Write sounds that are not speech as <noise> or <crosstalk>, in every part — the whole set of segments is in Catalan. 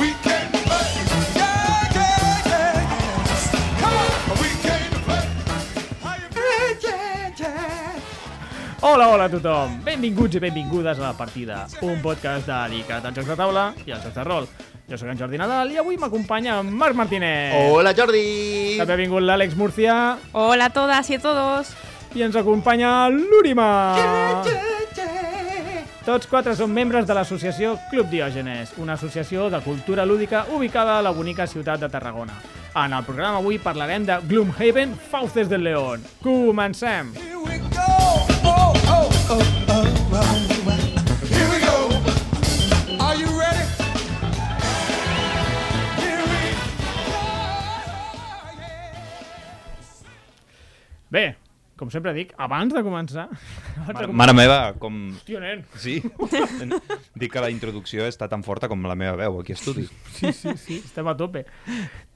We came to play. Yeah, yeah, yeah, yeah. Come on. We came to play. How you feeling? Yeah, yeah, Hola, hola a tothom! Benvinguts i benvingudes a La Partida, un podcast dedicat als jocs de taula i als jocs de rol. Jo sóc en Jordi Nadal i avui m'acompanya en Marc Martínez. Hola, Jordi! També ha vingut l'Àlex Murcia Hola a todas y a todos. i ens acompanya l'Úrima. Tots quatre són membres de l'associació Club Diògenes, una associació de cultura lúdica ubicada a la bonica ciutat de Tarragona. En el programa avui parlarem de Gloomhaven, Fauces del León. Comencem! Here we go. Oh, oh, oh, oh, oh. Here we go. Are you ready? Here we go. Yeah. Bé, com sempre dic, abans de començar... <laughs> abans de Mare, començar- mare meva, com... Hòstia, nen. Sí, <laughs> dic que la introducció està tan forta com la meva veu aquí a estudi. Sí, sí, sí, estem a tope.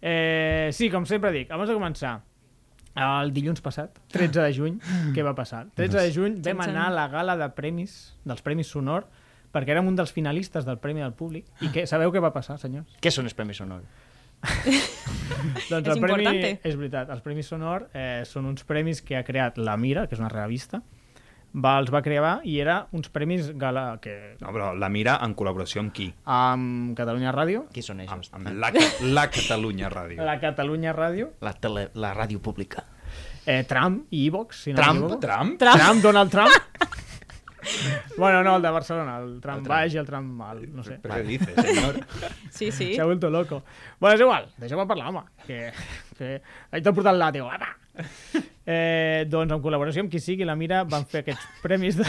Eh, sí, com sempre dic, abans de començar, el dilluns passat, 13 de juny, què va passar? 13 Doncs de juny vam anar a la gala de premis, dels Premis Sonor, perquè érem un dels finalistes del Premi del Públic. I què, sabeu què va passar, <laughs> senyors? Què són els Premis Sonor? Doncs És el premi, importante. És veritat, els Premis Sonor eh, són uns premis que ha creat La Mira, que és una revista, va, els va crear i era uns premis gala que No, però la mira en col·laboració amb qui? amb Catalunya Ràdio, Qui són Amb, ells? amb la, la Catalunya Ràdio. la Catalunya Ràdio, La, tele, la ràdio pública. eh, Trump i Vox, si no Trump? m'equivoco. Trump? Trump. Trump, Donald Trump. <laughs> bueno, no, el de Barcelona, el tram baix i el tram alt, no sé. Però què dices, senyor? Sí, sí. S'ha vuelto loco. Bueno, és igual, deixeu-me parlar, home, que, que ahí t'ha portat l'àteo, apa! Eh, doncs en col·laboració amb qui sigui la Mira van fer aquests premis de,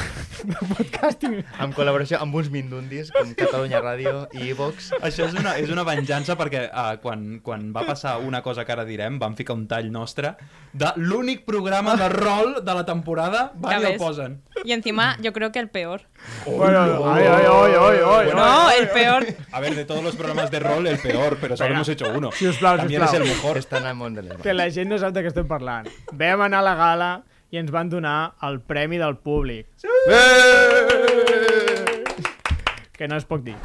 de podcasting. en col·laboració amb uns mindundis com Catalunya Ràdio i Vox. <laughs> Això és una, és una venjança perquè uh, quan, quan va passar una cosa que ara direm, vam ficar un tall nostre de l'únic programa de rol de la temporada, Ya van i el ves. posen. Y encima yo creo que el peor. bueno, ai, ai, ai, ai, ai, No, el peor. A ver, de todos los programas de rol, el peor, pero solo Venga. hemos hecho uno. Sisplau, También sisplau. es el mejor. Estan al món de les que mans. la gent no sap de què estem parlant. Vam anar a la gala i ens van donar el premi del públic. Sí! Que no es pot dir.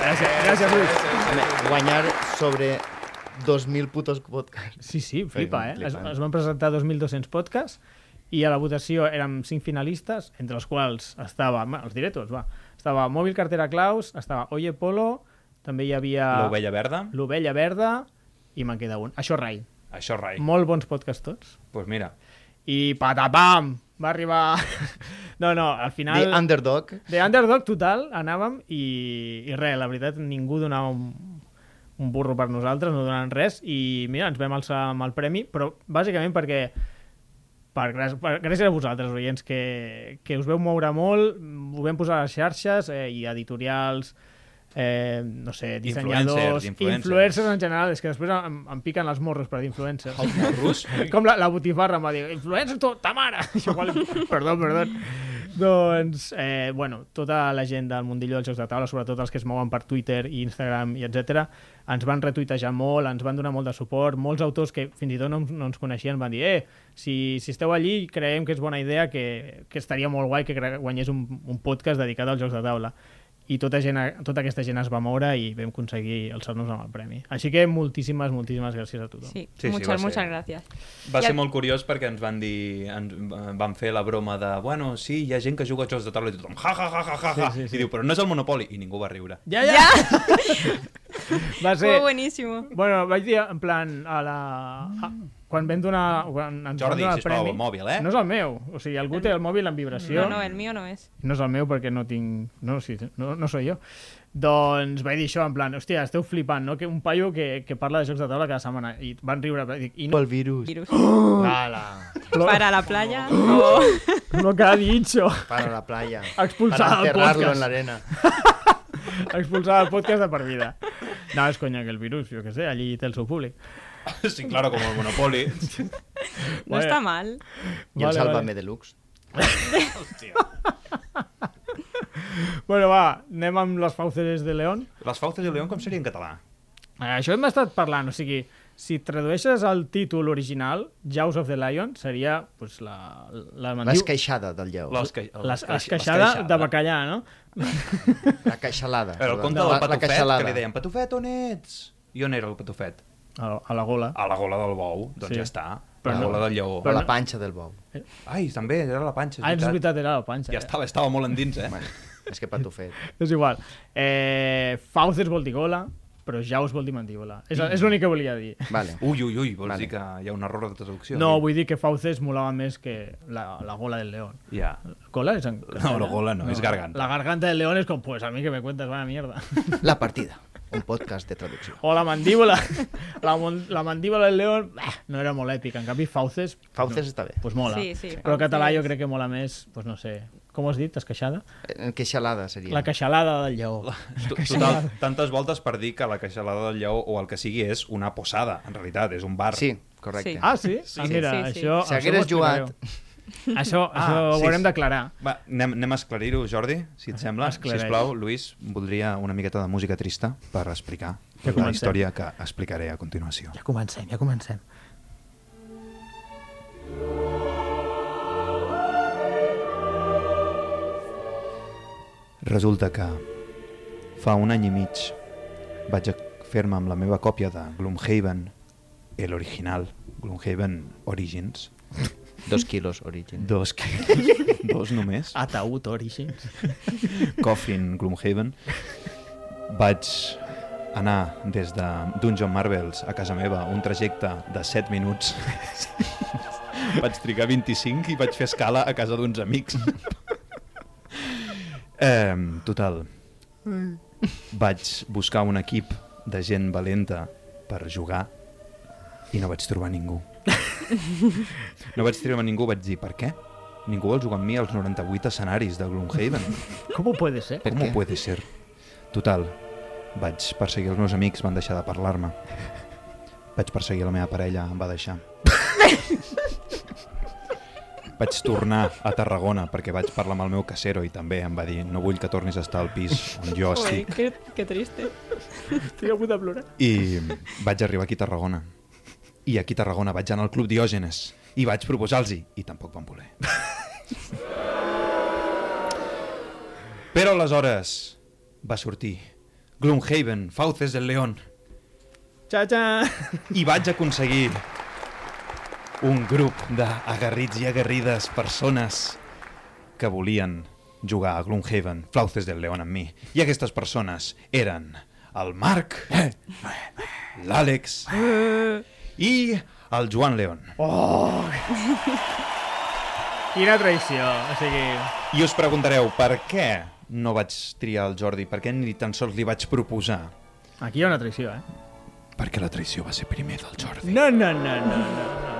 Gràcies, gràcies, Lluís. Home, Guanyar sobre 2.000 putos podcasts. Sí, sí, flipa, eh? Es, flipant. es van presentar 2.200 podcasts i a la votació érem 5 finalistes, entre els quals estava... ma, Els diré tots, va. Estava Mòbil Cartera Claus, estava Oye Polo, també hi havia... L'ovella verda, L'Ovella Verda i me'n queda un. Això rai. això rai. Molt bons podcasts tots. Pues mira, i patapam, va arribar... <laughs> No, no, al The final... Underdog. De underdog total anàvem i, i res, la veritat ningú donava un, un burro per nosaltres, no donaven res i mira, ens vam alçar amb el premi, però bàsicament perquè per, gràcies, per, gràcies a vosaltres, oients, que, que us veu moure molt, mm, ho vam posar a les xarxes eh, i editorials, eh, no sé, dissenyadors, Influencers, influencers. influencers en general, és que després em, em piquen les morros per dir influencers. rus, Com la, la botifarra em va dir, influencer tu, ta mare! <laughs> I Jo, vale, perdó, perdó. doncs, eh, bueno, tota la gent del mundillo dels jocs de taula, sobretot els que es mouen per Twitter i Instagram i etc, ens van retuitejar molt, ens van donar molt de suport, molts autors que fins i tot no, ens- no ens coneixien van dir, eh, si, si esteu allí creiem que és bona idea, que, que estaria molt guai que gra- guanyés un, un podcast dedicat als jocs de taula i tota, gent, tota aquesta gent es va moure i vam aconseguir alçar-nos amb el premi. Així que moltíssimes, moltíssimes gràcies a tothom. Sí, Sí, sí, va muchas, ser. muchas gracias. <laughs> va I ser el- molt curiós perquè ens van dir, ens eh, van fer la broma de, bueno, sí, hi ha gent que juga a jocs de taula i tothom, ja, ja, ja, ja, ja, ja. Sí, sí, sí. i diu, però no és el Monopoli, i ningú va riure. <laughs> Ja, ja! ja. va Fue ser... buenísimo. Bueno, vaig dir, en plan, a la... A... Quan vam donar... Quan ens van Jordi, donar sisplau, premi, el mòbil, eh? No és el meu. O sigui, algú té el mòbil en vibració. No, no, el mío no es. no és el meu perquè no tinc... No, sí, no, no soy jo. Doncs vaig dir això, en plan, hòstia, esteu flipant, no? Que un paio que, que parla de jocs de taula cada setmana. I van riure. Dic, I no, El virus. <gasps> Virus. Para, lo, Para la playa. o- lo que ha dicho. <laughs> para la playa. Expulsar Para del enterrarlo podcast. en la arena. Expulsar el podcast de per vida. No, és conya que el virus, jo què sé, allí té el seu públic. Sí, claro, com el Monopoli. No Vale. está mal. I el Sálvame Deluxe. Bueno, va, anem amb les fauces de León. Les Fauces i el León com seria en català? Eh, Això hem estat parlant, o sigui, si tradueixes el títol original, Jaws of the Lion, seria pues, la, la, la, L'esqueixada del lleu. Les, que, les, l'esqueixada de bacallà, no? La queixalada. Però el perdó. conte La- del la Patufet, queixalada. que li deien Patufet, on ets? I on era el Patufet? A, a la gola. A la gola del bou, doncs Sí. ja està. Però Però la no- gola del lleó. O la panxa del bou. Ai, també, era la panxa, Ah, és és veritat. veritat, era la panxa. Ja estava, estava molt endins, eh? És que patufet. És igual. Eh, Fauces vol dir gola, però Jaws vol dir mandíbula. És, és l'únic que volia dir. Vale. Ui, ui, ui, vols Vale. dir que hi ha un error de traducció? No, aquí? vull dir que Fauces molava més que la, la gola del león. Ja. ¿Cola es en No, la gola no, és garganta. La garganta del león es con, pues a mí que me cuentas, vaya mierda. La partida. Un podcast de traducció. O la mandíbula. <laughs> La, mon- la mandíbula del león bah, no era molt èpica. En canvi, Fauces, Fauces està bé. pues mola. Sí, sí, Però en català jo Fauces. crec que mola més, pues no sé, com has dit, esqueixada? Eh, Queixalada seria. La queixalada del lleó. To- Total, tantes voltes per dir que la queixalada del lleó o el que sigui és una posada, en realitat, és un bar. Sí, correcte. Sí. Ah, sí? Ah, mira, Sí, sí. això... Si això hagueres m'ho explicareu. Això, <laughs> Ah, això ho sí, haurem sí. d'aclarar. Va, anem, anem a esclarir-ho, Jordi, si et sembla. Esclareix. Esclareix. Sisplau, Lluís, voldria una miqueta de música trista per explicar Ja la comencem. història que explicaré a continuació. Ja comencem, ja comencem. Resulta que fa un any i mig vaig a fer-me amb la meva còpia de Gloomhaven, el original, Gloomhaven Origins, Dos quilos origen. dos, que... dos només, Ataúd Origins. Coffin Gloomhaven, vaig anar des de Dungeon Marvels a casa meva un trajecte de 7 minuts. <laughs> vaig trigar 25 i vaig fer escala a casa d'uns amics. <laughs> eh, total. Vaig buscar un equip de gent valenta per jugar i no vaig trobar ningú. No vaig trobar ningú, vaig dir, per què? Ningú vol jugar amb mi als 98 escenaris de Gloomhaven. Com ho puede ser? Per ¿Cómo què? puede ser? Total, vaig perseguir els meus amics, van deixar de parlar-me. Vaig perseguir la meva parella, em va deixar. vaig tornar a Tarragona perquè vaig parlar amb el meu casero i també em va dir no vull que tornis a estar al pis on jo Uy, estic. qué, qué triste. Estic a punt de plorar. I vaig arribar aquí a Tarragona. I aquí a Tarragona vaig anar al Club Diògenes i vaig proposar-los-hi i tampoc van voler. Però aleshores va sortir Gloomhaven, Fauces del León Cha-cha! i vaig aconseguir un grup d'agarrits i agarrides persones que volien jugar a Gloomhaven, Fauces del León amb mi. I aquestes persones eren el Marc, l'Àlex i el Joan León. Quina traïció, o sigui... I us preguntareu per què no vaig triar el Jordi, per què ni tan sols li vaig proposar. Aquí hi ha una traïció, eh? Perquè la traïció va ser primer del Jordi. No, no, no, no, no.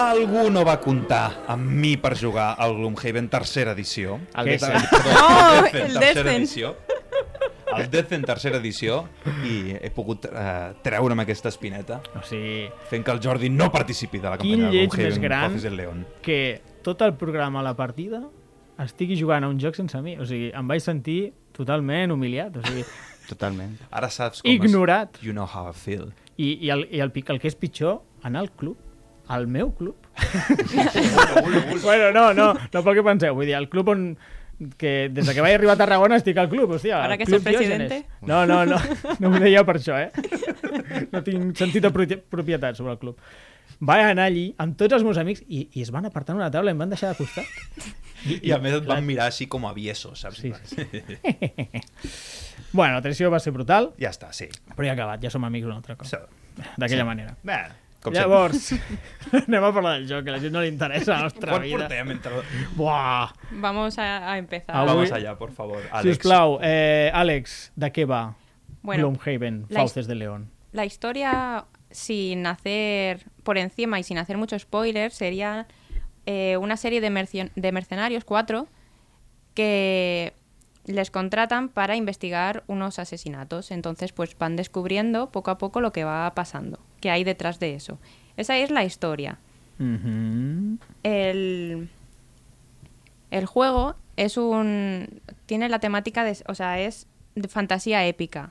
Algú no va comptar amb mi per jugar al Gloomhaven tercera edició. El Què descens. No, Death en el tercera Death en. edició. El Death en tercera edició i he pogut eh, treure'm aquesta espineta O sigui, fent que el Jordi no participi de la Quin campanya de lleig més Gloomhaven gran. Coffees and Leon. que tot el programa a la partida estigui jugant a un joc sense mi. O sigui, em vaig sentir totalment humiliat. O sigui, Totalment. Ara saps com Ignorat. Es... You know how I feel. i, i, el, i el, pic- el que és pitjor, anar al club, al meu club. bueno, no, no, no pel que penseu. Vull dir, el club on que des de que vaig arribar a Tarragona estic al club, hòstia. Ara al que club ets el Diògenes. presidente. No, no, no, no ho deia per això, eh? No tinc sentit de propi- propietat sobre el club. Vaig anar allí amb tots els meus amics i, i es van apartar una taula i em van deixar de costat. I, I a més et van mirar així com a vieso, saps? Sí, <laughs> Bueno, la traïció va ser brutal, <laughs> Ja està, sí. però ja ha acabat, ja som amics un altre cop. So, D'aquella manera. bé, com Llavors, <laughs> anem a parlar del joc, que a la gent no li interessa la nostra sempre. Quant vida. portem entre... Buah! Vamos a, a empezar. Avui- Vamos allá, por favor. Si us Àlex. plau, eh, Àlex, de què va Bueno, Gloomhaven, la his- Fauces de León? La historia, sin hacer por encima y sin hacer mucho spoiler, sería eh, una serie de, mercio- de mercenarios, cuatro, que les contratan para investigar unos asesinatos. Entonces, pues van descubriendo poco a poco lo que va pasando, qué hay detrás de eso. Esa es la historia. Mhm. Mm -hmm. El, el juego es un tiene la temática de, o sea, es de fantasía épica.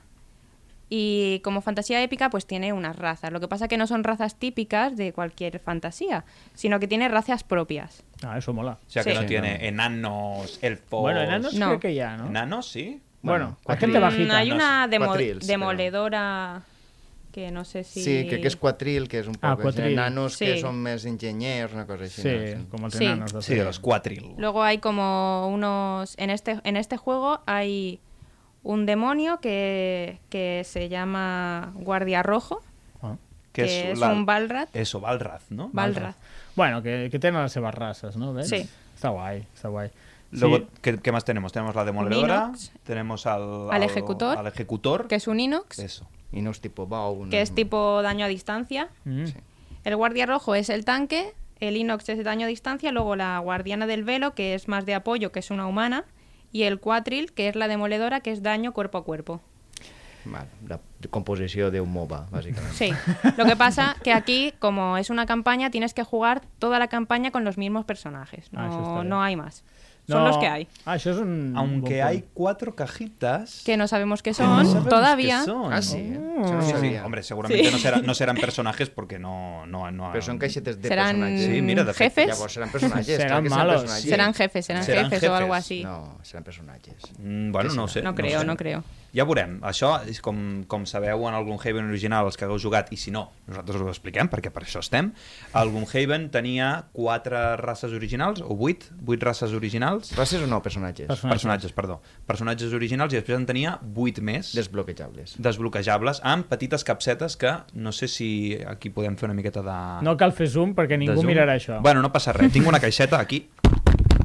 Y como fantasía épica, pues tiene unas razas. Lo que pasa que no son razas típicas de cualquier fantasía, sino que tiene razas propias. Ah, eso mola. O sea que Sí. no Sí, tiene enanos, elfos... Bueno, enanos No. creo que ya, ¿no? Oh, ¿Enanos, sí? Bueno, Bueno, gente Mm, bajita. hay una demo- Cuatrils, pero- demoledora que no sé si... Sí, que, que és quatril, que és un poc... Ah, és quatril. Nanos que Sí. són més enginyers, una cosa així. Sí, no? como els Sí. enanos. de Sí, de los cuatril. Luego hay como unos... En este, en este juego hay un demonio que, que se llama Guardia Rojo, Ah. que, es, un Balrat. Eso, Balraz, ¿no? Balrat. Bueno, que, que tengan las seves rases, ¿no? ¿Ves? Sí. Está guay, está guay. Sí. Luego, ¿qué, qué más tenemos? Tenemos la demoledora, Minox. tenemos al, Al ejecutor. al ejecutor. que es un Inox, Eso. I no és tipus bou. No? que es tipo daño a distancia. Mm. Sí. El guardia rojo es el tanque, el Inox es daño a distancia, luego la guardiana del velo, que es más de apoyo, que es una humana, y el cuatril, que es la demoledora, que es daño cuerpo a cuerpo. Val, la composició d'un MOBA, bàsicament. Sí, lo que pasa que aquí, como es una campaña, tienes que jugar toda la campaña con los mismos personajes, Ah, eso está no, bien. no hay más. Son los que hay. Ah, això és un... bon Aunque punt. hay cuatro cajitas. Que no sabemos qué que no son sabemos todavía. qué son. Ah, sí, eh? Això no mm, Sí, ho sí, sabia. Hombre, seguramente Sí. No, será- no serán personajes porque no... no, no Però són caixetes de Serán personatges. mm. Sí, mira, de fet, jefes, Llavors seran personatges. Seran clar que malos. personatges. serán jefes, serán, Serán jefes, o algo jefes, así. No, No, seran personatges. Mm, bueno, no ho sé. ho creo, sé. no creo. Ja veurem. Això, és com, com sabeu, en el Gloomhaven original, els que hagueu jugat, i si no, nosaltres us ho expliquem, perquè per això estem, el Gloomhaven tenia quatre races originals, o vuit, vuit races originals, Races o no personatges? Personatges. personatges, perdó, personatges originals, i després en tenia vuit més Desbloquejables. desbloquejables amb petites capsetes que no sé si aquí podem fer una miqueta de... Ah. No cal fer zoom perquè de ningú zoom. mirarà això. Bueno, no passa res. Tinc una caixeta aquí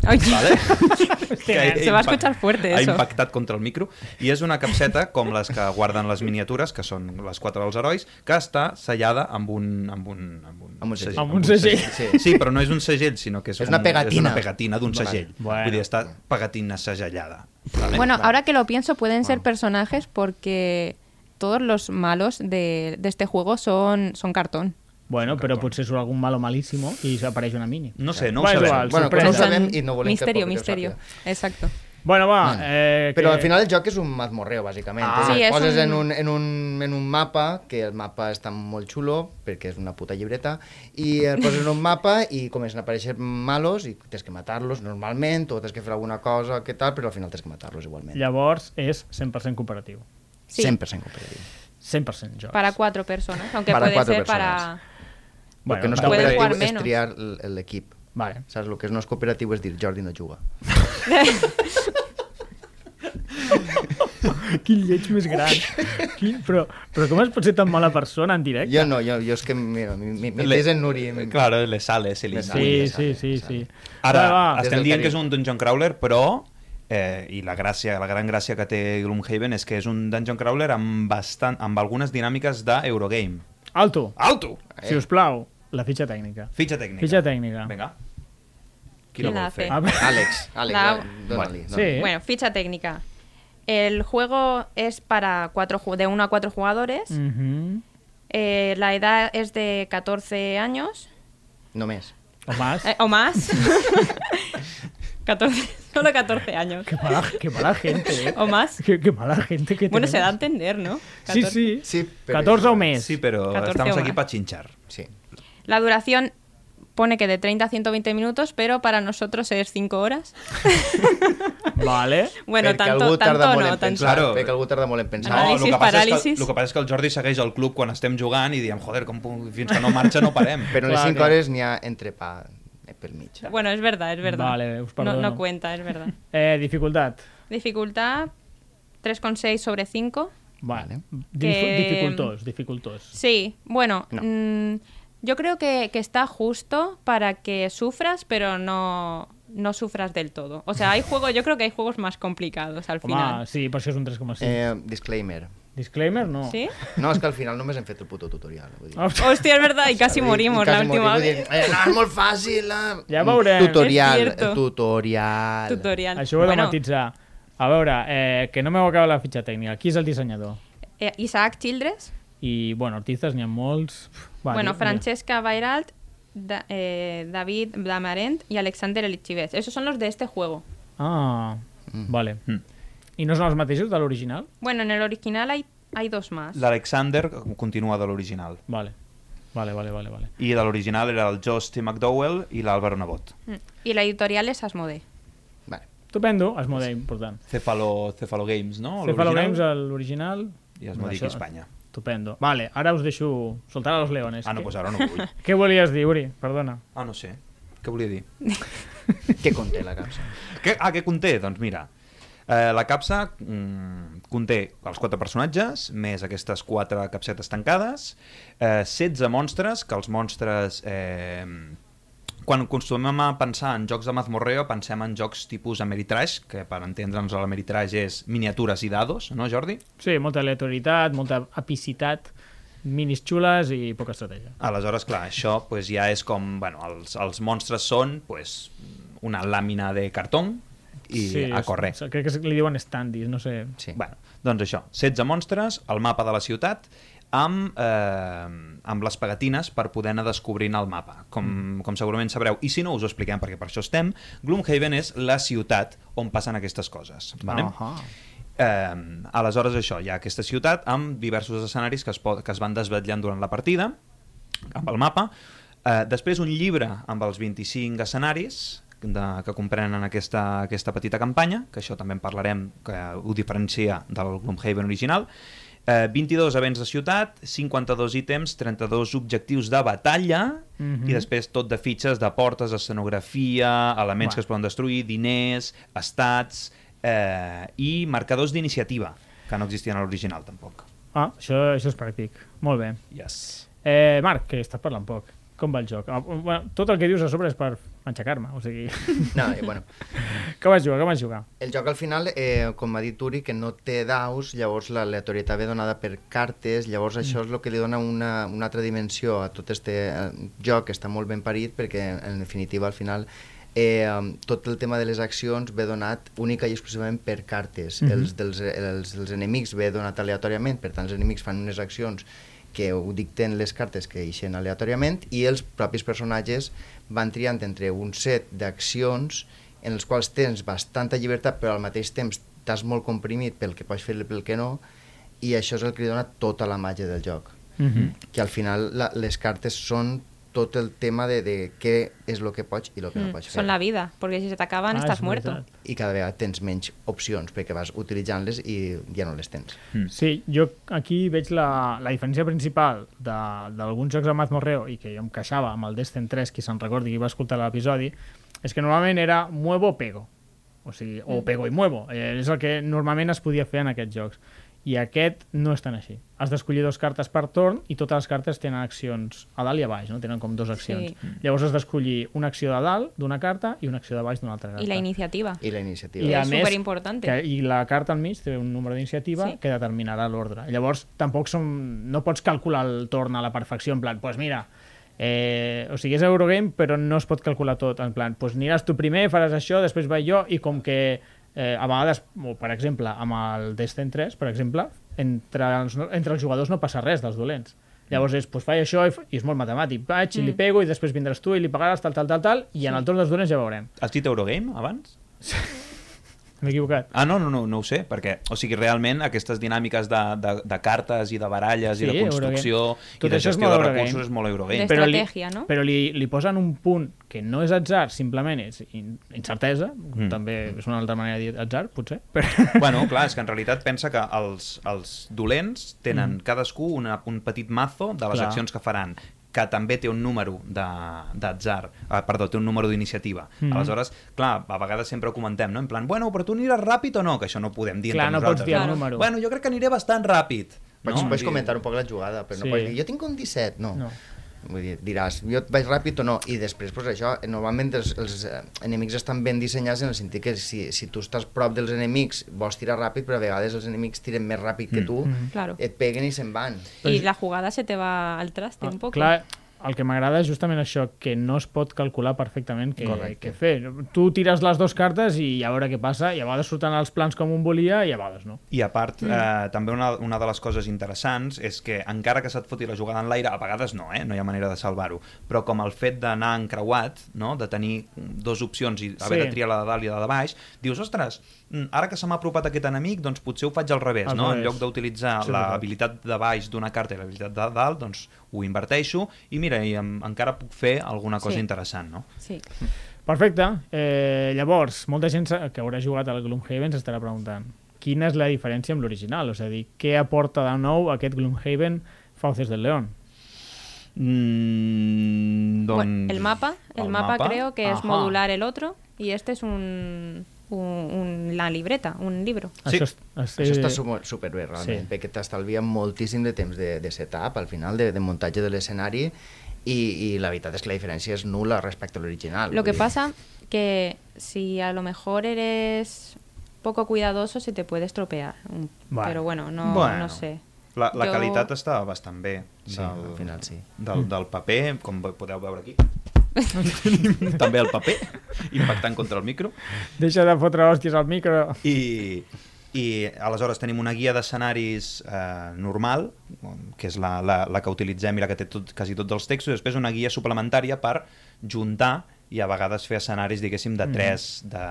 Ay, <laughs> <laughs> que se va impa- a escuchar fuerte Ha eso. impactat contra el micro. I és una capseta com les que guarden les miniatures, que són les quatre dels herois, que està sellada amb un... Amb un, amb un, Amb un segell. Amb un segell. Sí. sí, però no és un segell, sinó que és, És una un- És pegatina. una pegatina d'un Vale. segell. Bueno. Vull dir, està pegatina segellada. Vale? Bueno, ahora que lo pienso, pueden ser personajes porque todos los malos de, de este juego son, son cartón. Bueno, però potser surt algun malo malísimo i s'apareix una mini. Mm. No sé, no ho Va, és sabem. igual. Bueno, sorpresa. que no ho sabem Son i no volem misterio, que el públic ho misterio. Exacto. Bueno, va. Bueno, Eh, Però que- al final el joc és un mazmorreo, bàsicament. Ah. Ah, Sí, és poses un- en, un, en, un, en un mapa, que el mapa està molt xulo, perquè és una puta llibreta, i el poses en un mapa i comencen a aparèixer malos i tens que matar-los normalment, o tens que fer alguna cosa, que tal, però al final tens que matar-los igualment. Llavors és 100% cooperatiu. Sí, 100% cooperatiu. 100% jocs. para cuatro personas, aunque Para puede cuatro ser personas. para... Bueno, el que no és vale. Puedes jugar cooperatiu és menos. triar l- l'equip. Vale. Saps? El que no és cooperatiu és dir Jordi no juga. Quin lleig més <laughs> gran. Quin... Però, però com es pot ser tan mala persona en directe? Jo no, jo, jo és que, mira, mi, mi, mi, Le- és en Nuri. Mi, Claro, le sale, se li Le sale. Sí, Ui, sí, ja sí, sabe, sí. Ara, va, va. Des estem del dient que és Carib. un dungeon crawler, però... Eh, i la gràcia, la gran gràcia que té Gloomhaven és que és un dungeon crawler amb, bastant, amb algunes dinàmiques d'Eurogame. Alto, Alto! Eh? si us plau, la fitxa tècnica. Fitxa tècnica. Fitxa tècnica. Vinga. Qui ¿Quién la la vol hace? fer? Ah, bé. Eh, Àlex, Àlex, La- va, dona-li. Sí. dona-li. Bueno, ficha técnica. El juego es para cuatro, ju- de uno a cuatro jugadores. Mhm. Eh, la edad es de 14 años Només. O más. eh, <laughs> o más. <laughs> 14, solo 14 años. Qué mala, qué mala gente, eh. O más. Qué, qué mala gente que Bueno, tenemos. se da a entender, ¿no? Sí, 14. sí. Sí, però- 14 o més. Sí, però 14 estamos o aquí más. para chinchar. Sí. La duración pone que de 30 a 120 minutos, pero para nosotros es 5 horas. <laughs> Vale. <laughs> Bueno, perquè tanto, algú tarda tanto molt en no, tanto. pensar, Claro. perquè algú tarda molt en pensar. Anàlisi. el que passa és que, paràlisis. el que passa és que el Jordi segueix el club quan estem jugant i diem, joder, com puc, fins que no marxa no parem. <laughs> Però en les Clar, 5 clar. hores n'hi ha entrepà eh, pel mig. Bueno, es verdad, es verdad. Vale, pues os no, perdono. no cuenta, <laughs> es verdad. Eh, dificultat. Dificultad 3,6 sobre 5. Vale. Que- Dificultós, dificultós. Sí, bueno, No. mm, yo creo que, que está justo para que sufras, pero no, no sufras del todo. O sea, hay juego, yo creo que hay juegos más complicados al Home, final. sí, per això és un 3,5. Eh, disclaimer. Disclaimer, no. ¿Sí? No, és que al final només hem fet el puto tutorial. Vull dir. <laughs> Hòstia, Hostia, es <laughs> verdad, y casi Vull dir, Ah, morimos quasi la última morim, vull vez. dir, Eh, no, és molt fàcil. Eh? Ja veurem. És Tutorial, cierto. tutorial. Tutorial. Això ho he de Bueno, matitzar. A veure, eh, que no m'heu acabat la fitxa tècnica. Qui és el dissenyador? eh, Isaac Childress. I, bueno, artistes n'hi ha molts. Va, bueno, di- Francesca Bairalt, Da- eh, David Damarent y Alexander Elichives. Esos son los de este juego. mira. Ah, vale. Mm. ¿Y no son los mateixos de l'original? Bueno, en el original hay, hay dos más. L'Alexander continua de l'original. Vale. Vale, vale, vale, vale. I de l'original era el Justin McDowell i l'Àlvaro Nebot. Mm. Y la editorial es Asmode. Vale. Estupendo, Asmodee, important. Cefalo, Cefalo Games, no? Cefalo L'original? Games, l'original... I Asmodee Això- aquí a Espanya. Estupendo. Vale, ara us deixo soltar a los leones. Ah, no, Què- pues ara no ho vull. Què volies dir, Uri? Perdona. Ah, no sé. Què volia dir? Què conté la capsa? Què, ah, què conté? Doncs mira, eh, la capsa mm, conté els quatre personatges, més aquestes quatre capsetes tancades, eh, 16 monstres, que els monstres... Eh, quan acostumem a pensar en jocs de mazmorreo, pensem en jocs tipus Ameritrash, que per entendre'ns l'Ameritrash és miniatures i dados, no, Jordi? Sí, molta aleatorietat, molta apicitat, minis xules i poca estratègia. Aleshores, clar, això pues, ja és com... Bueno, els, els monstres són pues, una làmina de cartó i sí, a és- correr. és- Crec que és- li diuen standis, no sé. Sí. Bueno, doncs això, 16 monstres, el mapa de la ciutat, amb, eh, amb les pegatines per poder anar descobrint el mapa, com, com segurament sabreu. I si no, us ho expliquem, perquè per això estem. Gloomhaven és la ciutat on passen aquestes coses. Vale? Uh -huh. Eh, aleshores, això, hi ha aquesta ciutat amb diversos escenaris que es, pot, que es van desvetllant durant la partida, amb el mapa. Eh, després, un llibre amb els 25 escenaris de, que comprenen aquesta, aquesta petita campanya, que això també en parlarem, que ho diferencia del Gloomhaven original. Eh, 22 events de ciutat, 52 ítems, 32 objectius de batalla mm -hmm. i després tot de fitxes de portes, escenografia, elements Uah. wow. que es poden destruir, diners, estats eh, i marcadors d'iniciativa, que no existien a l'original tampoc. Ah, això, això és pràctic. Molt bé. Yes. Eh, Marc, que estàs parlant poc. Com va el joc? Ah, Bueno, tot el que dius a sobre és per aixecar-me, o sigui... <laughs> No, eh, bueno, Com vas jugar, com vas jugar? el joc al final, eh, com ha dit Uri, que no té daus, llavors l'aleatorietat ve donada per cartes, llavors això és el que li dona una, una altra dimensió a tot este eh, joc, que està molt ben parit, perquè en definitiva al final eh, tot el tema de les accions ve donat única i exclusivament per cartes. Mm -hmm. els, dels, els, els enemics ve donat aleatòriament, per tant els enemics fan unes accions que ho dicten les cartes que eixen aleatòriament i els propis personatges van triant entre un set d'accions en els quals tens bastanta llibertat però al mateix temps estàs molt comprimit pel que pots fer i pel que no i això és el que li dona tota la màgia del joc Mm -hmm. que al final la, les cartes són tot el tema de, de què és el que pots i el que no Mm, pots fer Son la vida, porque si se te acaban estás muerto. i cada vegada tens menys opcions perquè vas utilitzant-les i ja no les tens Sí, jo aquí veig la, la diferència principal de- d'alguns jocs de Mazmorreo i que jo em queixava amb el Descent 3, qui se'n recordi qui va escoltar l'episodi, és que normalment era muevo o pego. O sigui, o pego i muevo. Eh, és el que normalment es podia fer en aquests jocs. I aquest no és tan així. Has d'escollir dues cartes per torn i totes les cartes tenen accions a dalt i a baix, no? Tenen com dues accions. Sí. Llavors has d'escollir una acció de dalt d'una carta i una acció de baix d'una altra carta. Y la iniciativa. i la I iniciativa a És més, superimportante. que- I la carta al mig té un número d'iniciativa Sí. sí. que determinarà l'ordre. Llavors, tampoc som, no pots calcular el torn a la perfecció, en plan, doncs pues mira, eh, o sigui, és Eurogame, però no es pot calcular tot, en plan, doncs pues aniràs tu primer, faràs això, després vaig jo, i com que eh, a vegades, o per exemple, amb el Destin 3, per exemple, entre els, no- entre els jugadors no passa res dels dolents. Llavors és, doncs faig això i, fa- i és molt matemàtic. Vaig i li pego i després vindràs tu i li pagaràs tal, tal, tal, tal, i en el torn dels dolents ja veurem. Has dit Eurogame abans? M'he equivocat. Ah, no, no, no, no ho sé, perquè, o sigui, realment aquestes dinàmiques de, de, de cartes i de baralles sí, Sí, i de construcció Eurogame. i Tot de això és gestió molt de Eurogame. recursos és molt Eurogame. Des- estratègia, li, no? Però li, li posen un punt que no és atzar, simplement és in, incertesa, mm. també és una altra manera de dir atzar, potser, <laughs> però... Bueno, clar, és que en realitat pensa que els, els dolents tenen mm. cadascú una, un petit mazo de les Clar. clar. accions que faran que també té un número de- d'atzar, eh, perdó, té un número d'iniciativa. Mm. Aleshores, clar, a vegades sempre ho comentem, no? En plan, bueno, però tu aniràs ràpid o no? Que això no ho podem dir Clar, entre no pots nosaltres. dir el número. Bueno, jo crec que aniré bastant ràpid. pots, no? pots I- comentar un poc la jugada però Sí. no pots dir, jo tinc un 17 no, No. Vull dir, diràs, jo vaig ràpid o no i després, pues, això, eh, normalment els, els eh, enemics estan ben dissenyats en el sentit que si, si tu estàs prop dels enemics vols tirar ràpid, però a vegades els enemics tiren més ràpid que tu, Claro. et peguen i se'n van Ah, Y la jugada se te va al traste un poco. Clar, el que m'agrada és justament això, que no es pot calcular perfectament què, Correcte. què fer. Tu tires les dues cartes i a veure què passa, i a vegades surten els plans com un volia i a vegades no. I a part, Mm. eh, també una, una de les coses interessants és que encara que se't foti la jugada en l'aire, a vegades no, eh? no hi ha manera de salvar-ho, però com el fet d'anar encreuat, no? de tenir dues opcions i haver Sí. sí. de triar la de dalt i la de baix, dius, ostres, mm, ara que se m'ha apropat aquest enemic, doncs potser ho faig al revés, Al no? revés. en lloc d'utilitzar Sí, és sí, veritat. l'habilitat de baix d'una carta i l'habilitat de dalt, doncs ho inverteixo i mira, i em, encara puc fer alguna cosa Sí. sí. interessant, no? Sí. Perfecte. Eh, llavors, molta gent se- que haurà jugat al Gloomhaven s'estarà preguntant quina és la diferència amb l'original, és a dir, què aporta de nou aquest Gloomhaven Fauces del León? Mm, doncs... Bueno, el mapa, el, mapa, creo que es Ajá. modular el otro y este es un, un- un- la libreta, un libro. Sí. Això, és, Això està sumo- superbé, realment, Sí. sí. perquè t'estalvia moltíssim de temps de, de setup, al final, de, de muntatge de l'escenari, i, i la veritat és que la diferència és nula respecte a l'original. Lo que Vull dir, pasa que si a lo mejor eres poco cuidadoso se te puede estropear. Mm, Bueno. Pero bueno, no, Bueno. no sé. La, la Yo- jo... qualitat està bastant bé Sí, al final sí. del, del paper, com ve- podeu veure <laughs> aquí. Tenim també el paper impactant contra el micro Deixa de fotre hòsties al micro. i, i aleshores tenim una guia d'escenaris eh, normal on- que és la, la, la que utilitzem i la que té tot, quasi tots els textos i després una guia suplementària per juntar i a vegades fer escenaris, diguéssim, de 3, de,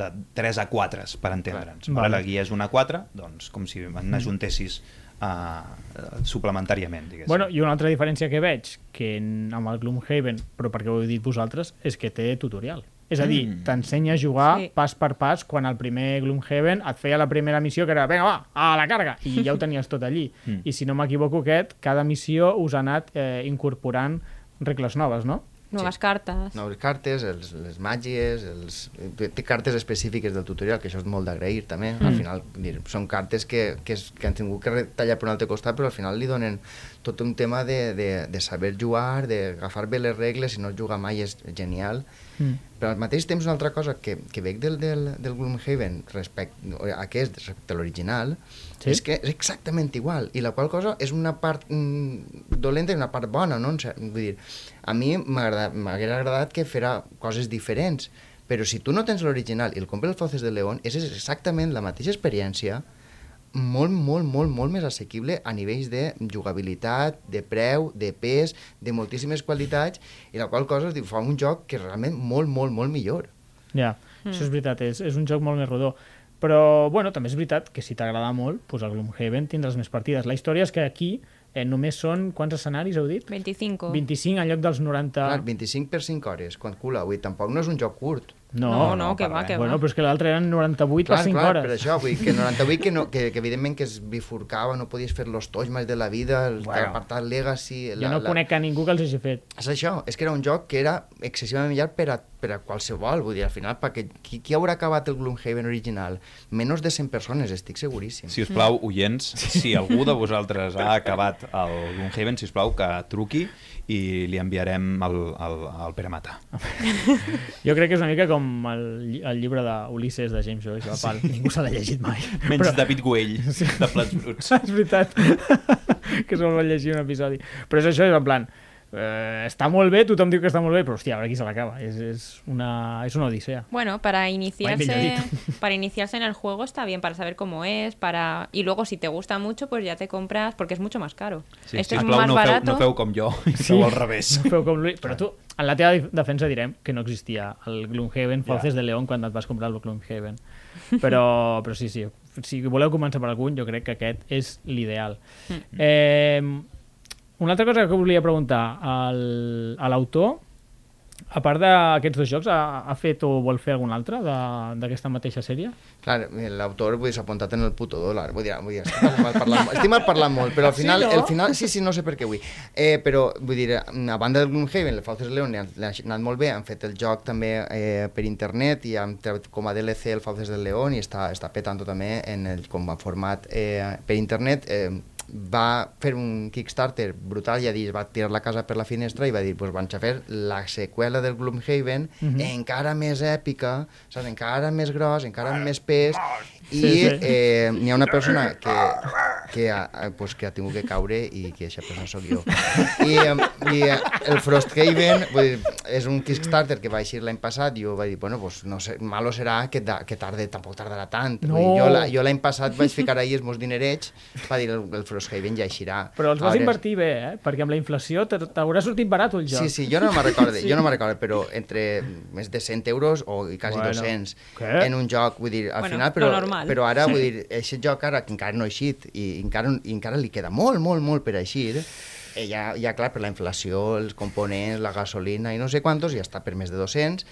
de 3 a 4, per entendre'ns. Vale. Vale. La guia és una a 4, doncs com si n'ajuntessis uh, suplementàriament, diguéssim. Bueno, i una altra diferència que veig que en, amb el Gloomhaven, però perquè ho heu dit vosaltres, és que té tutorial. És a dir, mm. t'ensenya a jugar sí. Sí. pas per pas quan el primer Gloomhaven et feia la primera missió que era, vinga va, a la carga, i ja ho tenies tot allí. <laughs> Mm. I si no m'equivoco aquest, cada missió us ha anat eh, incorporant regles noves, no? Nuevas cartas. noves cartes, els, les màgies, els, eh, té cartes específiques del tutorial, que això és molt d'agrair també. Mm. Al final dir, són cartes que, que, es, que han tingut que retallar per un altre costat, però al final li donen tot un tema de, de, de saber jugar, d'agafar bé les regles, si no es juga mai és genial. Mm. Però al mateix temps una altra cosa que, que veig del, del, del Gloomhaven respecte a aquest, respecte a l'original, Sí? sí? és que és exactament igual, i la qual cosa és una part mm, dolenta i una part bona, no? En cer- Vull dir, a mi m'agrada- m'hagués agradat que fera coses diferents, però si tu no tens l'original i el compres el Fauces de León, és exactament la mateixa experiència, molt, molt, molt, molt més assequible a nivells de jugabilitat, de preu, de pes, de moltíssimes qualitats, i la qual cosa diu, fa un joc que és realment molt, molt, molt millor. Ja, mm. això és veritat, és, és un joc molt més rodó. Però, bueno, també és veritat que si t'agrada molt, doncs el Gloomhaven tindràs més partides. La història és que aquí eh, només són... Quants escenaris heu dit? 25. 25 en lloc dels 90... Clar, 25 per 5 hores, quan cula, vull dir, tampoc no és un joc curt. No, no, que va, que Bueno, va. però és pues que l'altre eren 98 Clar, per 5 clar, hores. per això, vull dir, que 98, que, no, que, que evidentment que es bifurcava, no podies fer los tojmas de la vida, el bueno, apartat Legacy... Jo no la... conec a ningú que els hagi fet. És això, és que era un joc que era excessivament llarg per a, per a qualsevol, vull dir, al final, perquè qui, qui haurà acabat el Gloomhaven original? Menys de 100 persones, estic seguríssim. Si us plau, oients, si algú de vosaltres ha acabat el Gloomhaven, si us plau, que truqui i li enviarem el, el, el Pere Mata. Jo crec que és una mica com el, lli- el llibre d'Ulisses de James Joyce, la pal. Sí. Ningú se l'ha llegit mai. Menys <laughs> Però... David Güell, de Plats Bruts. És veritat <laughs> que se'l va llegir un episodi. Però és això, és en plan... Eh, està molt bé, tothom diu que està molt bé, però hòstia, a veure qui se l'acaba. És, és, una, és una odissea. Bueno, para iniciarse, milladito. para iniciarse en el juego está bien, para saber cómo es, para y luego si te gusta mucho, pues ya te compras porque es mucho más caro. este es sisplau, más Ah, no barato. Feu, no feu com jo, i sí. feu <laughs> al revés. No feu com l'Ulis- però tu, en la teva defensa direm que no existia el Gloomhaven Ja. Fauces de León quan et vas comprar el Gloomhaven. Però, però sí, sí, si voleu començar per algun, jo crec que aquest és l'ideal. Mm. Eh, una altra cosa que volia preguntar al, a l'autor, a part d'aquests dos jocs, ha, ha fet o vol fer algun altre de- d'aquesta mateixa sèrie? Clar, l'autor vull dir, s'ha apuntat en el puto dòlar. Vull dir, vull dir estic, mal parlant, <laughs> estic mal parlant molt, però al final... Sí, no? el final sí, sí, no sé per què vull. Eh, però, vull dir, a banda del Gloomhaven, el Fauces León li han, li han anat molt bé, han fet el joc també eh, per internet i han tret com a DLC el Fauces del León i està, està petant també en el, com a format eh, per internet. Eh, va fer un Kickstarter brutal i a dir, va tirar la casa per la finestra i va dir, doncs vaig a fer la seqüela del Gloomhaven Mhm. mm -hmm. encara més èpica, saps? encara més gros, encara amb més pes Sí, i sí. eh, n'hi ha una persona que que ha, eh, pues, que ha tingut que caure i que aquesta persona sóc jo. I, em, i eh, el Frosthaven vull dir, és un Kickstarter que va eixir l'any passat i jo vaig dir, bueno, pues, no sé, malo serà que, da, que tarde, tampoc tardarà tant. No. Vull dir, jo la- jo l'any passat vaig ficar ahir els meus dinerets va dir el, el Frosthaven ja eixirà. Però els vas Ara- invertir bé, eh? Perquè amb la inflació te- t'haurà sortit barat el joc. Sí, sí, jo no me'n <laughs> recordo, sí. jo no me'n recordo, però entre més de 100 euros o quasi Bueno. bueno, 200 Què? en un joc, vull dir, al Bueno, final, lo però, normal. però ara, vull dir, aquest joc ara que encara no ha eixit i encara, i encara li queda molt, molt, molt per eixir, eh, ja, ja clar, per la inflació, els components, la gasolina i no sé quantos, ja està per més de 200,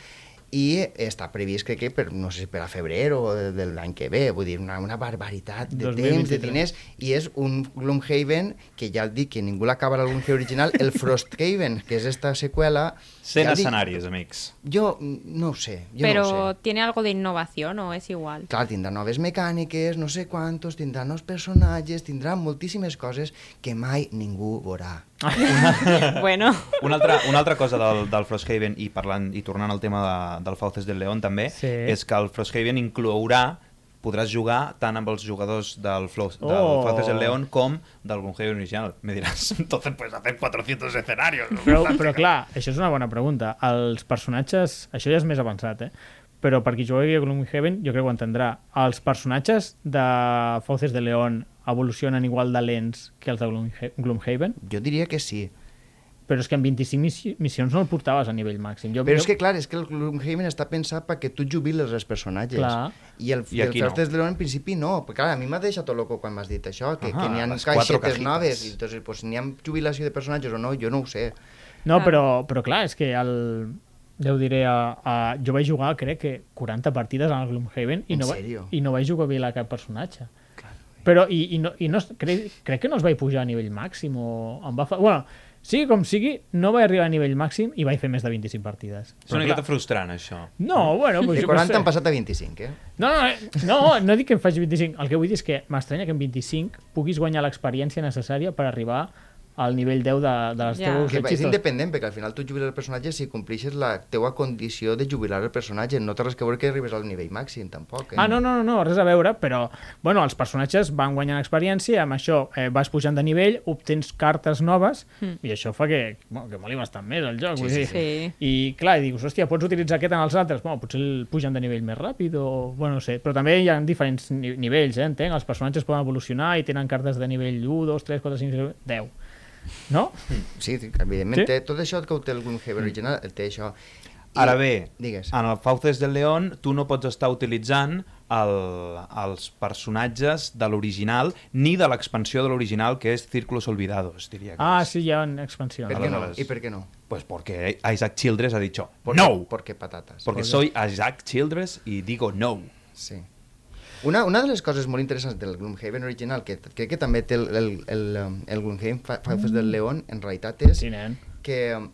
i està previst crec que per, no sé si per a febrer o de l'any que ve, vull dir, una, una barbaritat de temps, de 2023. diners, i és un Gloomhaven que ja el dic que ningú l'acaba a l'Glumhaven original, el Frosthaven, que és esta seqüela... 100 ja dic- escenaris, amics. Jo mm, no ho sé, jo Pero no ho sé. tiene algo de innovación o <laughs> es igual. Clar, tindrà noves mecàniques, no sé quantos, tindrà nous personatges, tindrà moltíssimes coses que mai ningú veurà. Bueno, Una altra, una altra cosa del, del Frosthaven, i, parlant, i tornant al tema de, del Fauces del León també, Sí. és que el Frosthaven inclourà podràs jugar tant amb els jugadors del, Flos, del Oh. Fauces del León com del Gloomhaven original. Me diràs, <laughs> entonces puedes hacer 400 escenarios. Però, però clar, això és una bona pregunta. Els personatges... Això ja és més avançat, eh? Però per qui jugui a Gloomhaven, jo crec que ho entendrà. Els personatges de Fauces de León evolucionen igual de lents que els de Gloomha- Gloomhaven, Jo diria que sí. però és que en 25 missi- missions no el portaves a nivell màxim. Jo, Però és jo- que, clar, és que el Gloomhaven està pensat perquè tu jubiles els personatges. Clar. I el, I I el aquí no. Fastest Leon, en principi, no. Perquè, clar, a mi m'ha deixat tot loco quan m'has dit això, Ah, que, Ahà, que n'hi ha les quatre caixetes cajitas. noves. I, entonces, pues, n'hi ha jubilació de personatges o no, jo no ho sé. No, però, però clar, és que el... Ja ho diré, a, a, jo vaig jugar, crec que 40 partides al Gloomhaven i En no, va, sèrio? i no vaig jugar a cap personatge. Però, i, i no, i no, crec, crec que no es vaig pujar a nivell màxim o em va... Fa... Bueno, sigui com sigui, no vaig arribar a nivell màxim i vaig fer més de 25 partides. És una miqueta frustrant, això. No, bueno, pues De jo 40 què han passat a 25, eh? sé. No, no, eh, no, no dic que en faci 25. El que vull dir és que m'estranya que en 25 puguis guanyar l'experiència necessària per arribar al nivell 10 de, de les Ja. teus Que és éxitos. independent, perquè al final tu jubiles el personatge si complixes la teua condició de jubilar el personatge. No té res que veure que arribes al nivell màxim, tampoc. Eh? Ah, no, no, no, no, res a veure, però bueno, els personatges van guanyant experiència, amb això eh, vas pujant de nivell, obtens cartes noves, mm. i això fa que, bueno, que moli bastant més el joc. Sí, vull dir. sí. I clar, i dius, hòstia, pots utilitzar aquest en els altres? Bueno, potser el pugen de nivell més ràpid o... Bueno, no sé, però també hi ha diferents ni nivells, eh, entenc? Els personatges poden evolucionar i tenen cartes de nivell 1, 2, 3, 4, 5, 6, 10. No? Sí, sí, evidentment. Sí? Mm. Sí? Té, tot això que ho té el Gloomhaven original, el té això. I- Ara bé, Digues. en el Fauces del León tu no pots estar utilitzant el, els personatges de l'original ni de l'expansió de l'original, que és Círculos Olvidados, diria que Ah, és. sí, hi ha expansió. Per no? què no? Aleshores- I per què no? Pues porque Isaac Childress ha dicho Por- no, Porque patatas. porque soy Isaac Childress y digo no. Sí. Una, una de les coses molt interessants del Gloomhaven original, que crec que també té el, el, el, um, el Gloomhaven Fa- Fauces del León, en realitat és Mm. Sí, nen. que, um,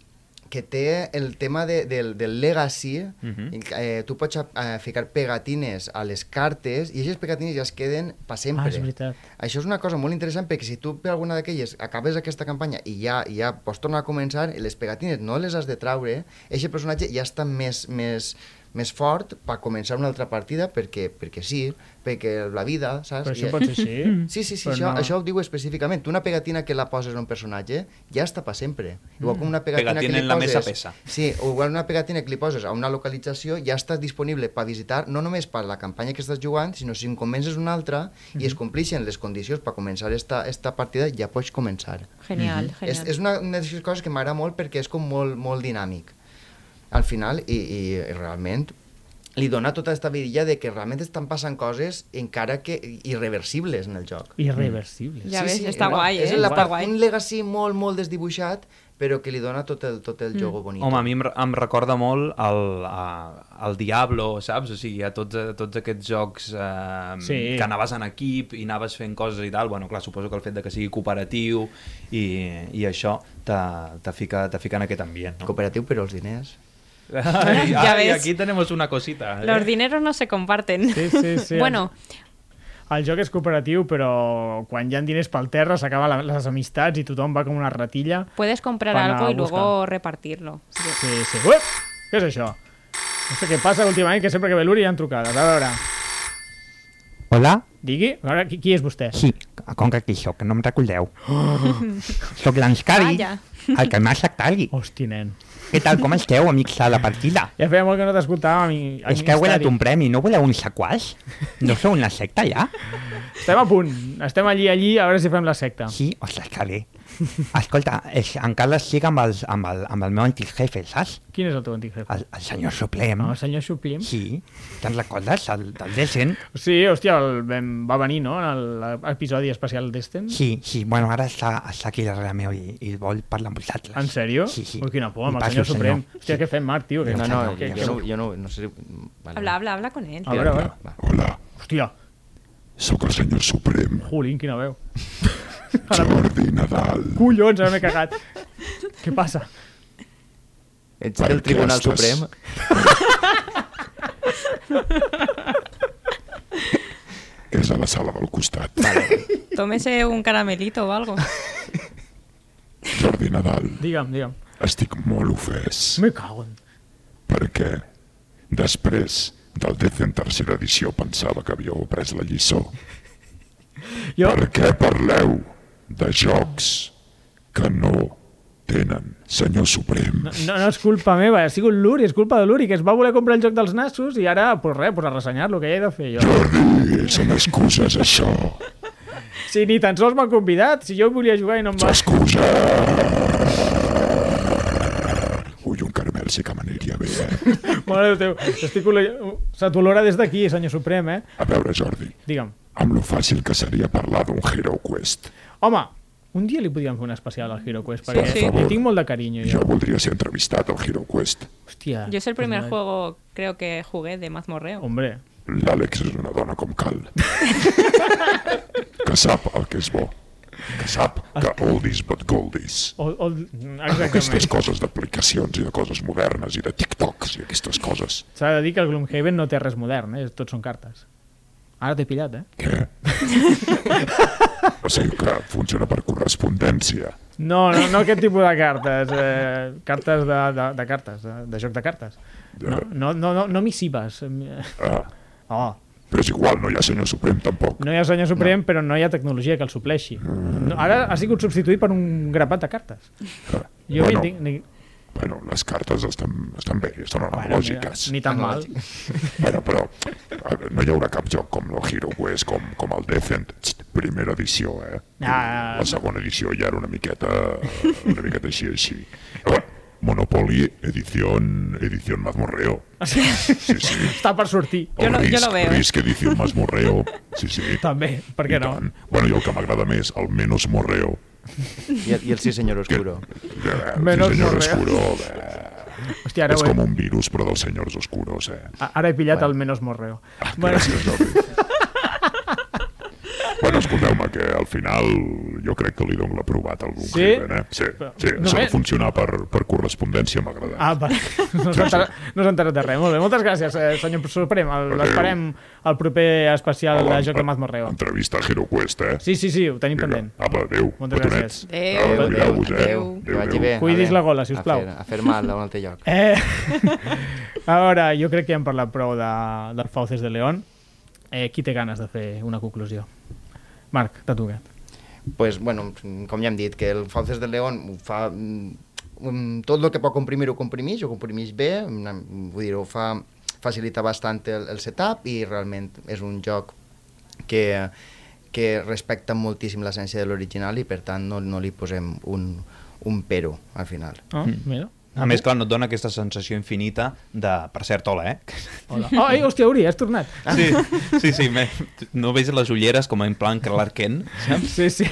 que té el tema de, del, del legacy, Mhm. i, eh, tu pots eh, ficar pegatines a les cartes i aquestes pegatines ja es queden per sempre. Ah, és veritat. Això és una cosa molt interessant perquè si tu per alguna d'aquelles acabes aquesta campanya i ja ja pots tornar a començar, les pegatines no les has de traure, aquest personatge ja està més, més, més fort per començar una altra partida perquè, perquè sí, perquè la vida, saps? Però I- això pot ser així? <laughs> Sí, sí, sí, Però això, no. no. això ho diu específicament. Tu una pegatina que la poses a un personatge ja està per sempre. Igual Mm. com una pegatina, Pegatina que li en la poses... mesa pesa. Sí, o igual una pegatina que li poses a una localització ja està disponible per visitar, no només per la campanya que estàs jugant, sinó si en comences una altra i Mhm. es compleixen les condicions per començar esta, esta partida, ja pots començar. Genial, És, genial. és una, una de les coses que m'agrada molt perquè és com molt, molt dinàmic al final i, i realment li dona tota aquesta vidilla de que realment estan passant coses encara que irreversibles en el joc. Irreversible. Ja ves, està no, guai, és eh? la Està part, guai. un legacy molt, molt desdibuixat, però que li dona tot el, tot Mm. el jogo bonic. Home, a mi em, re- em recorda molt el, a- el Diablo, saps? O sigui, a tots, a tots aquests jocs eh, Sí. que anaves en equip i anaves fent coses i tal. Bueno, clar, suposo que el fet de que sigui cooperatiu i, i això te, te, fica, te fica en aquest ambient, no? Cooperatiu, però els diners. <laughs> Ai, Ya ai, ves. aquí tenemos una cosita. eh? Los dineros no se comparten. Sí, <laughs> sí, sí. bueno, El joc és cooperatiu, però quan hi ha diners pel terra s'acaben les amistats i tothom va com una ratilla. puedes comprar Van a algo y buscar. luego repartirlo. Sí, sí. Ep! Què és això? No sé què passa últimament, que sempre que ve l'Uri hi ha trucades. A veure. Hola? Digui, a veure, qui, qui és vostè? Sí, com que aquí sóc, no em recordeu. Sóc l'Anscari, Vaja. el que m'ha sectari. Hosti, nen. Què tal, com esteu, amics de la partida? Ja feia molt que no t'escoltàvem. i- a mi És que heu m'està guanyat un dient- premi, no voleu un sequaç? No sou una secta, ja? Estem a punt. Estem allí, allí, a veure si fem la secta. Sí, ostres, que bé. Escolta, és, encara estic amb, els, amb, el, amb el meu antic jefe, saps? Quin és el teu antic jefe? El, el senyor Suplem. No, el senyor Xuplim? Sí, te'n recordes? El, del Desen? Sí, hòstia, el, vam, va venir, no?, en el- l'episodi especial d'Esten. Sí, sí, bueno, ara està, està aquí darrere meu i, i vol parlar amb vosaltres. En sèrio? Sí, sí. Ui, quina por, Em amb el passo senyor Suprem. Hòstia, Sí. què fem, Marc, tio? Que, No, no, que, jo no, jo no, no sé... Vale. Habla, habla, habla con él. A veure, a veure. Va. Hòstia, Sóc el senyor Suprem, Julín, quina veu. <laughs> Jordi Nadal. Collons, ara m'he cagat. Què passa? Ets Per del Tribunal què estàs- Suprem? <laughs> És a la sala del costat. Tómese un caramelito o algo. <laughs> Jordi Nadal, Digue'm, digue'm. estic molt ofès. Me cago en... Perquè després del Death en tercera edició pensava que havíeu après la lliçó. Jo, Per què parleu de jocs que no tenen senyor Suprem? no, no és culpa meva, ha sigut l'Uri, és culpa de l'Uri, que es va voler comprar el joc dels nassos i ara, pues res, pues a ressenyar-lo, que ja he de fer jo. Jordi, són excuses, això. Si ni tan sols m'han convidat, si jo volia jugar i no em va... Excusa! Ui, un caramel sí que m'aniria bé, eh? Mare de Déu, estic... olo- Se t'olora des d'aquí, senyor Suprem, eh? A veure, Jordi, Digue'm. amb lo fàcil que seria parlar d'un Hero Quest. Home, un dia li podríem fer un especial al HeroQuest, perquè sí. li tinc molt de carinyo, jo. Jo voldria ser entrevistat al Hero Quest. Hòstia. Yo es el primer juego, creo que jugué de mazmorreo. Hombre, L'Àlex és una dona com cal. que sap el que és bo. Que sap que oldies but goldies. o, o... <laughs> Aquestes exactament. coses d'aplicacions i de coses modernes i de TikToks i aquestes coses. S'ha de dir que el Gloomhaven no té res modern, eh? Tots són cartes. Ara t'he pillat, eh? Què? o sigui que funciona per correspondència. No, no, no aquest tipus de cartes. Eh, cartes de, de, de cartes, de, de joc de cartes. No, no, no, no, no missives. Eh, Ah, Oh, però és igual, no hi ha senyor suprem tampoc. no hi ha senyor suprem, no. però no hi ha tecnologia que el supleixi. No, ara ha sigut substituït per un grapat de cartes. Ah, Jo bueno, ni, ni, bueno, les cartes estan, estan bé, estan bueno, ni, analògiques. ni tan mal. Bueno, però a veure, no hi haurà cap joc com el Hero Quest, com, com el Defend, Txt, primera edició, eh? Ah. la segona edició ja era una miqueta, una miqueta així, així. A veure, Monopoly, edició, edició Mazmorreo. Sí, sí. Està per sortir, O Yo lo- yo risc, lo veo, eh? Risc, edició Mazmorreo. Sí, sí. també, per què I no? tant. Bueno, i el que m'agrada més, el Menos Morreo. I, el- I el sí, senyor Oscuro. Eh, Menos sí, senyor Morreo. Oscuro. Eh, Hòstia, ara, és ho he, com un virus, però dels senyors oscuros, eh? a- ara he pillat el menos morreo. Bueno, Ah, Gràcies, Jordi. bueno, escolteu-me, que al final jo crec que li dono l'aprovat a algú. Sí? Client, eh? Sí, sí Només- això de funcionar per, per correspondència m'ha agradat. <laughs> Ah, vale. No s'ha enterat, no s'ha enterat de res. Molt bé, moltes gràcies, eh, senyor Suprem. El- L'esperem al proper especial de Joc de Mazmorreo. Entrevista a HeroQuest, eh? Sí, sí, sí, ho tenim pendent. Apa, adéu. Moltes petonets. gràcies. Adéu. Adéu, Adéu, cuideu-vos, eh? adéu. Que vagi bé. Cuidis a la veure, gola, sisplau. A fer, a fer mal a un altre lloc. Eh, <laughs> a veure, jo crec que ja hem parlat prou de, del Fauces de León. Eh, qui té ganes de fer una conclusió? Marc, t'ha tocat. pues, bueno, com ja hem dit, que el Fauces de León ho fa... mm, mm, tot el que pot comprimir ho comprimix, ho comprimix bé, una- vull dir, ho fa, facilita bastant el, el setup i realment és un joc que, que respecta moltíssim l'essència de l'original i per tant no, no li posem un, un pero al final. Oh, Mm. mira. A més, clar, no et dona aquesta sensació infinita de... Per cert, hola, eh? Hola. Oh, ei, hòstia, Uri, has <laughs> tornat. Sí, sí, sí me... no veig les ulleres com en plan Clark Kent, saps? Sí, sí.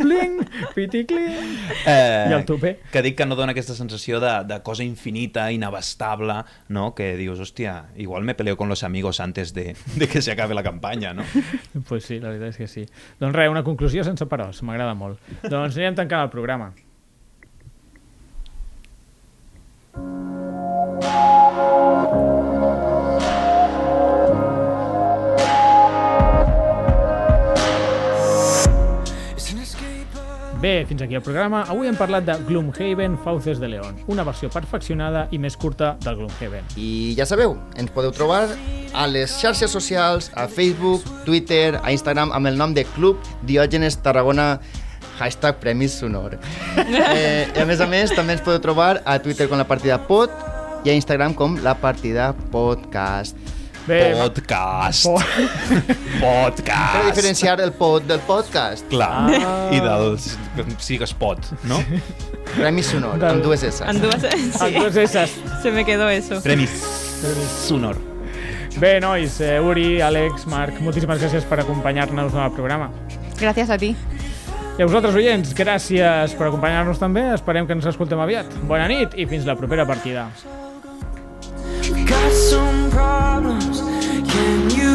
Bling, piti, cling. Eh, I el tupé. Que dic que no dona aquesta sensació de, de cosa infinita, inabastable, no? Que dius, hòstia, igual me peleo con los amigos antes de, de que se acabe la campanya, no? Pues sí, la veritat és que sí. Doncs res, una conclusió sense paròs, m'agrada molt. Doncs anirem tancant el programa. Bé, fins aquí el programa. Avui hem parlat de Gloomhaven Fauces de León, una versió perfeccionada i més curta del Gloomhaven. I ja sabeu, ens podeu trobar a les xarxes socials, a Facebook, Twitter, a Instagram, amb el nom de Club Diògenes Tarragona hashtag Premis Sonor. <laughs> Eh, I a més a més, també ens podeu trobar a Twitter com la partida pot i a Instagram com la partida podcast. Bé, Podcast. Podcast. Per diferenciar el pod del podcast. Clar. Ah. I dels... Sí que es pot, no? Premis Sonor, amb dues S. En <laughs> <laughs> dues, sí, Entonces, esas. se me quedó eso. Premis. Sonor. Bé, nois, eh, Uri, Àlex, Marc, moltíssimes gràcies per acompanyar-nos en el programa. Gracias a ti. I a vosaltres, oients, gràcies per acompanyar-nos també. Esperem que ens escoltem aviat. Bona nit i fins la propera partida. Got some problems, can you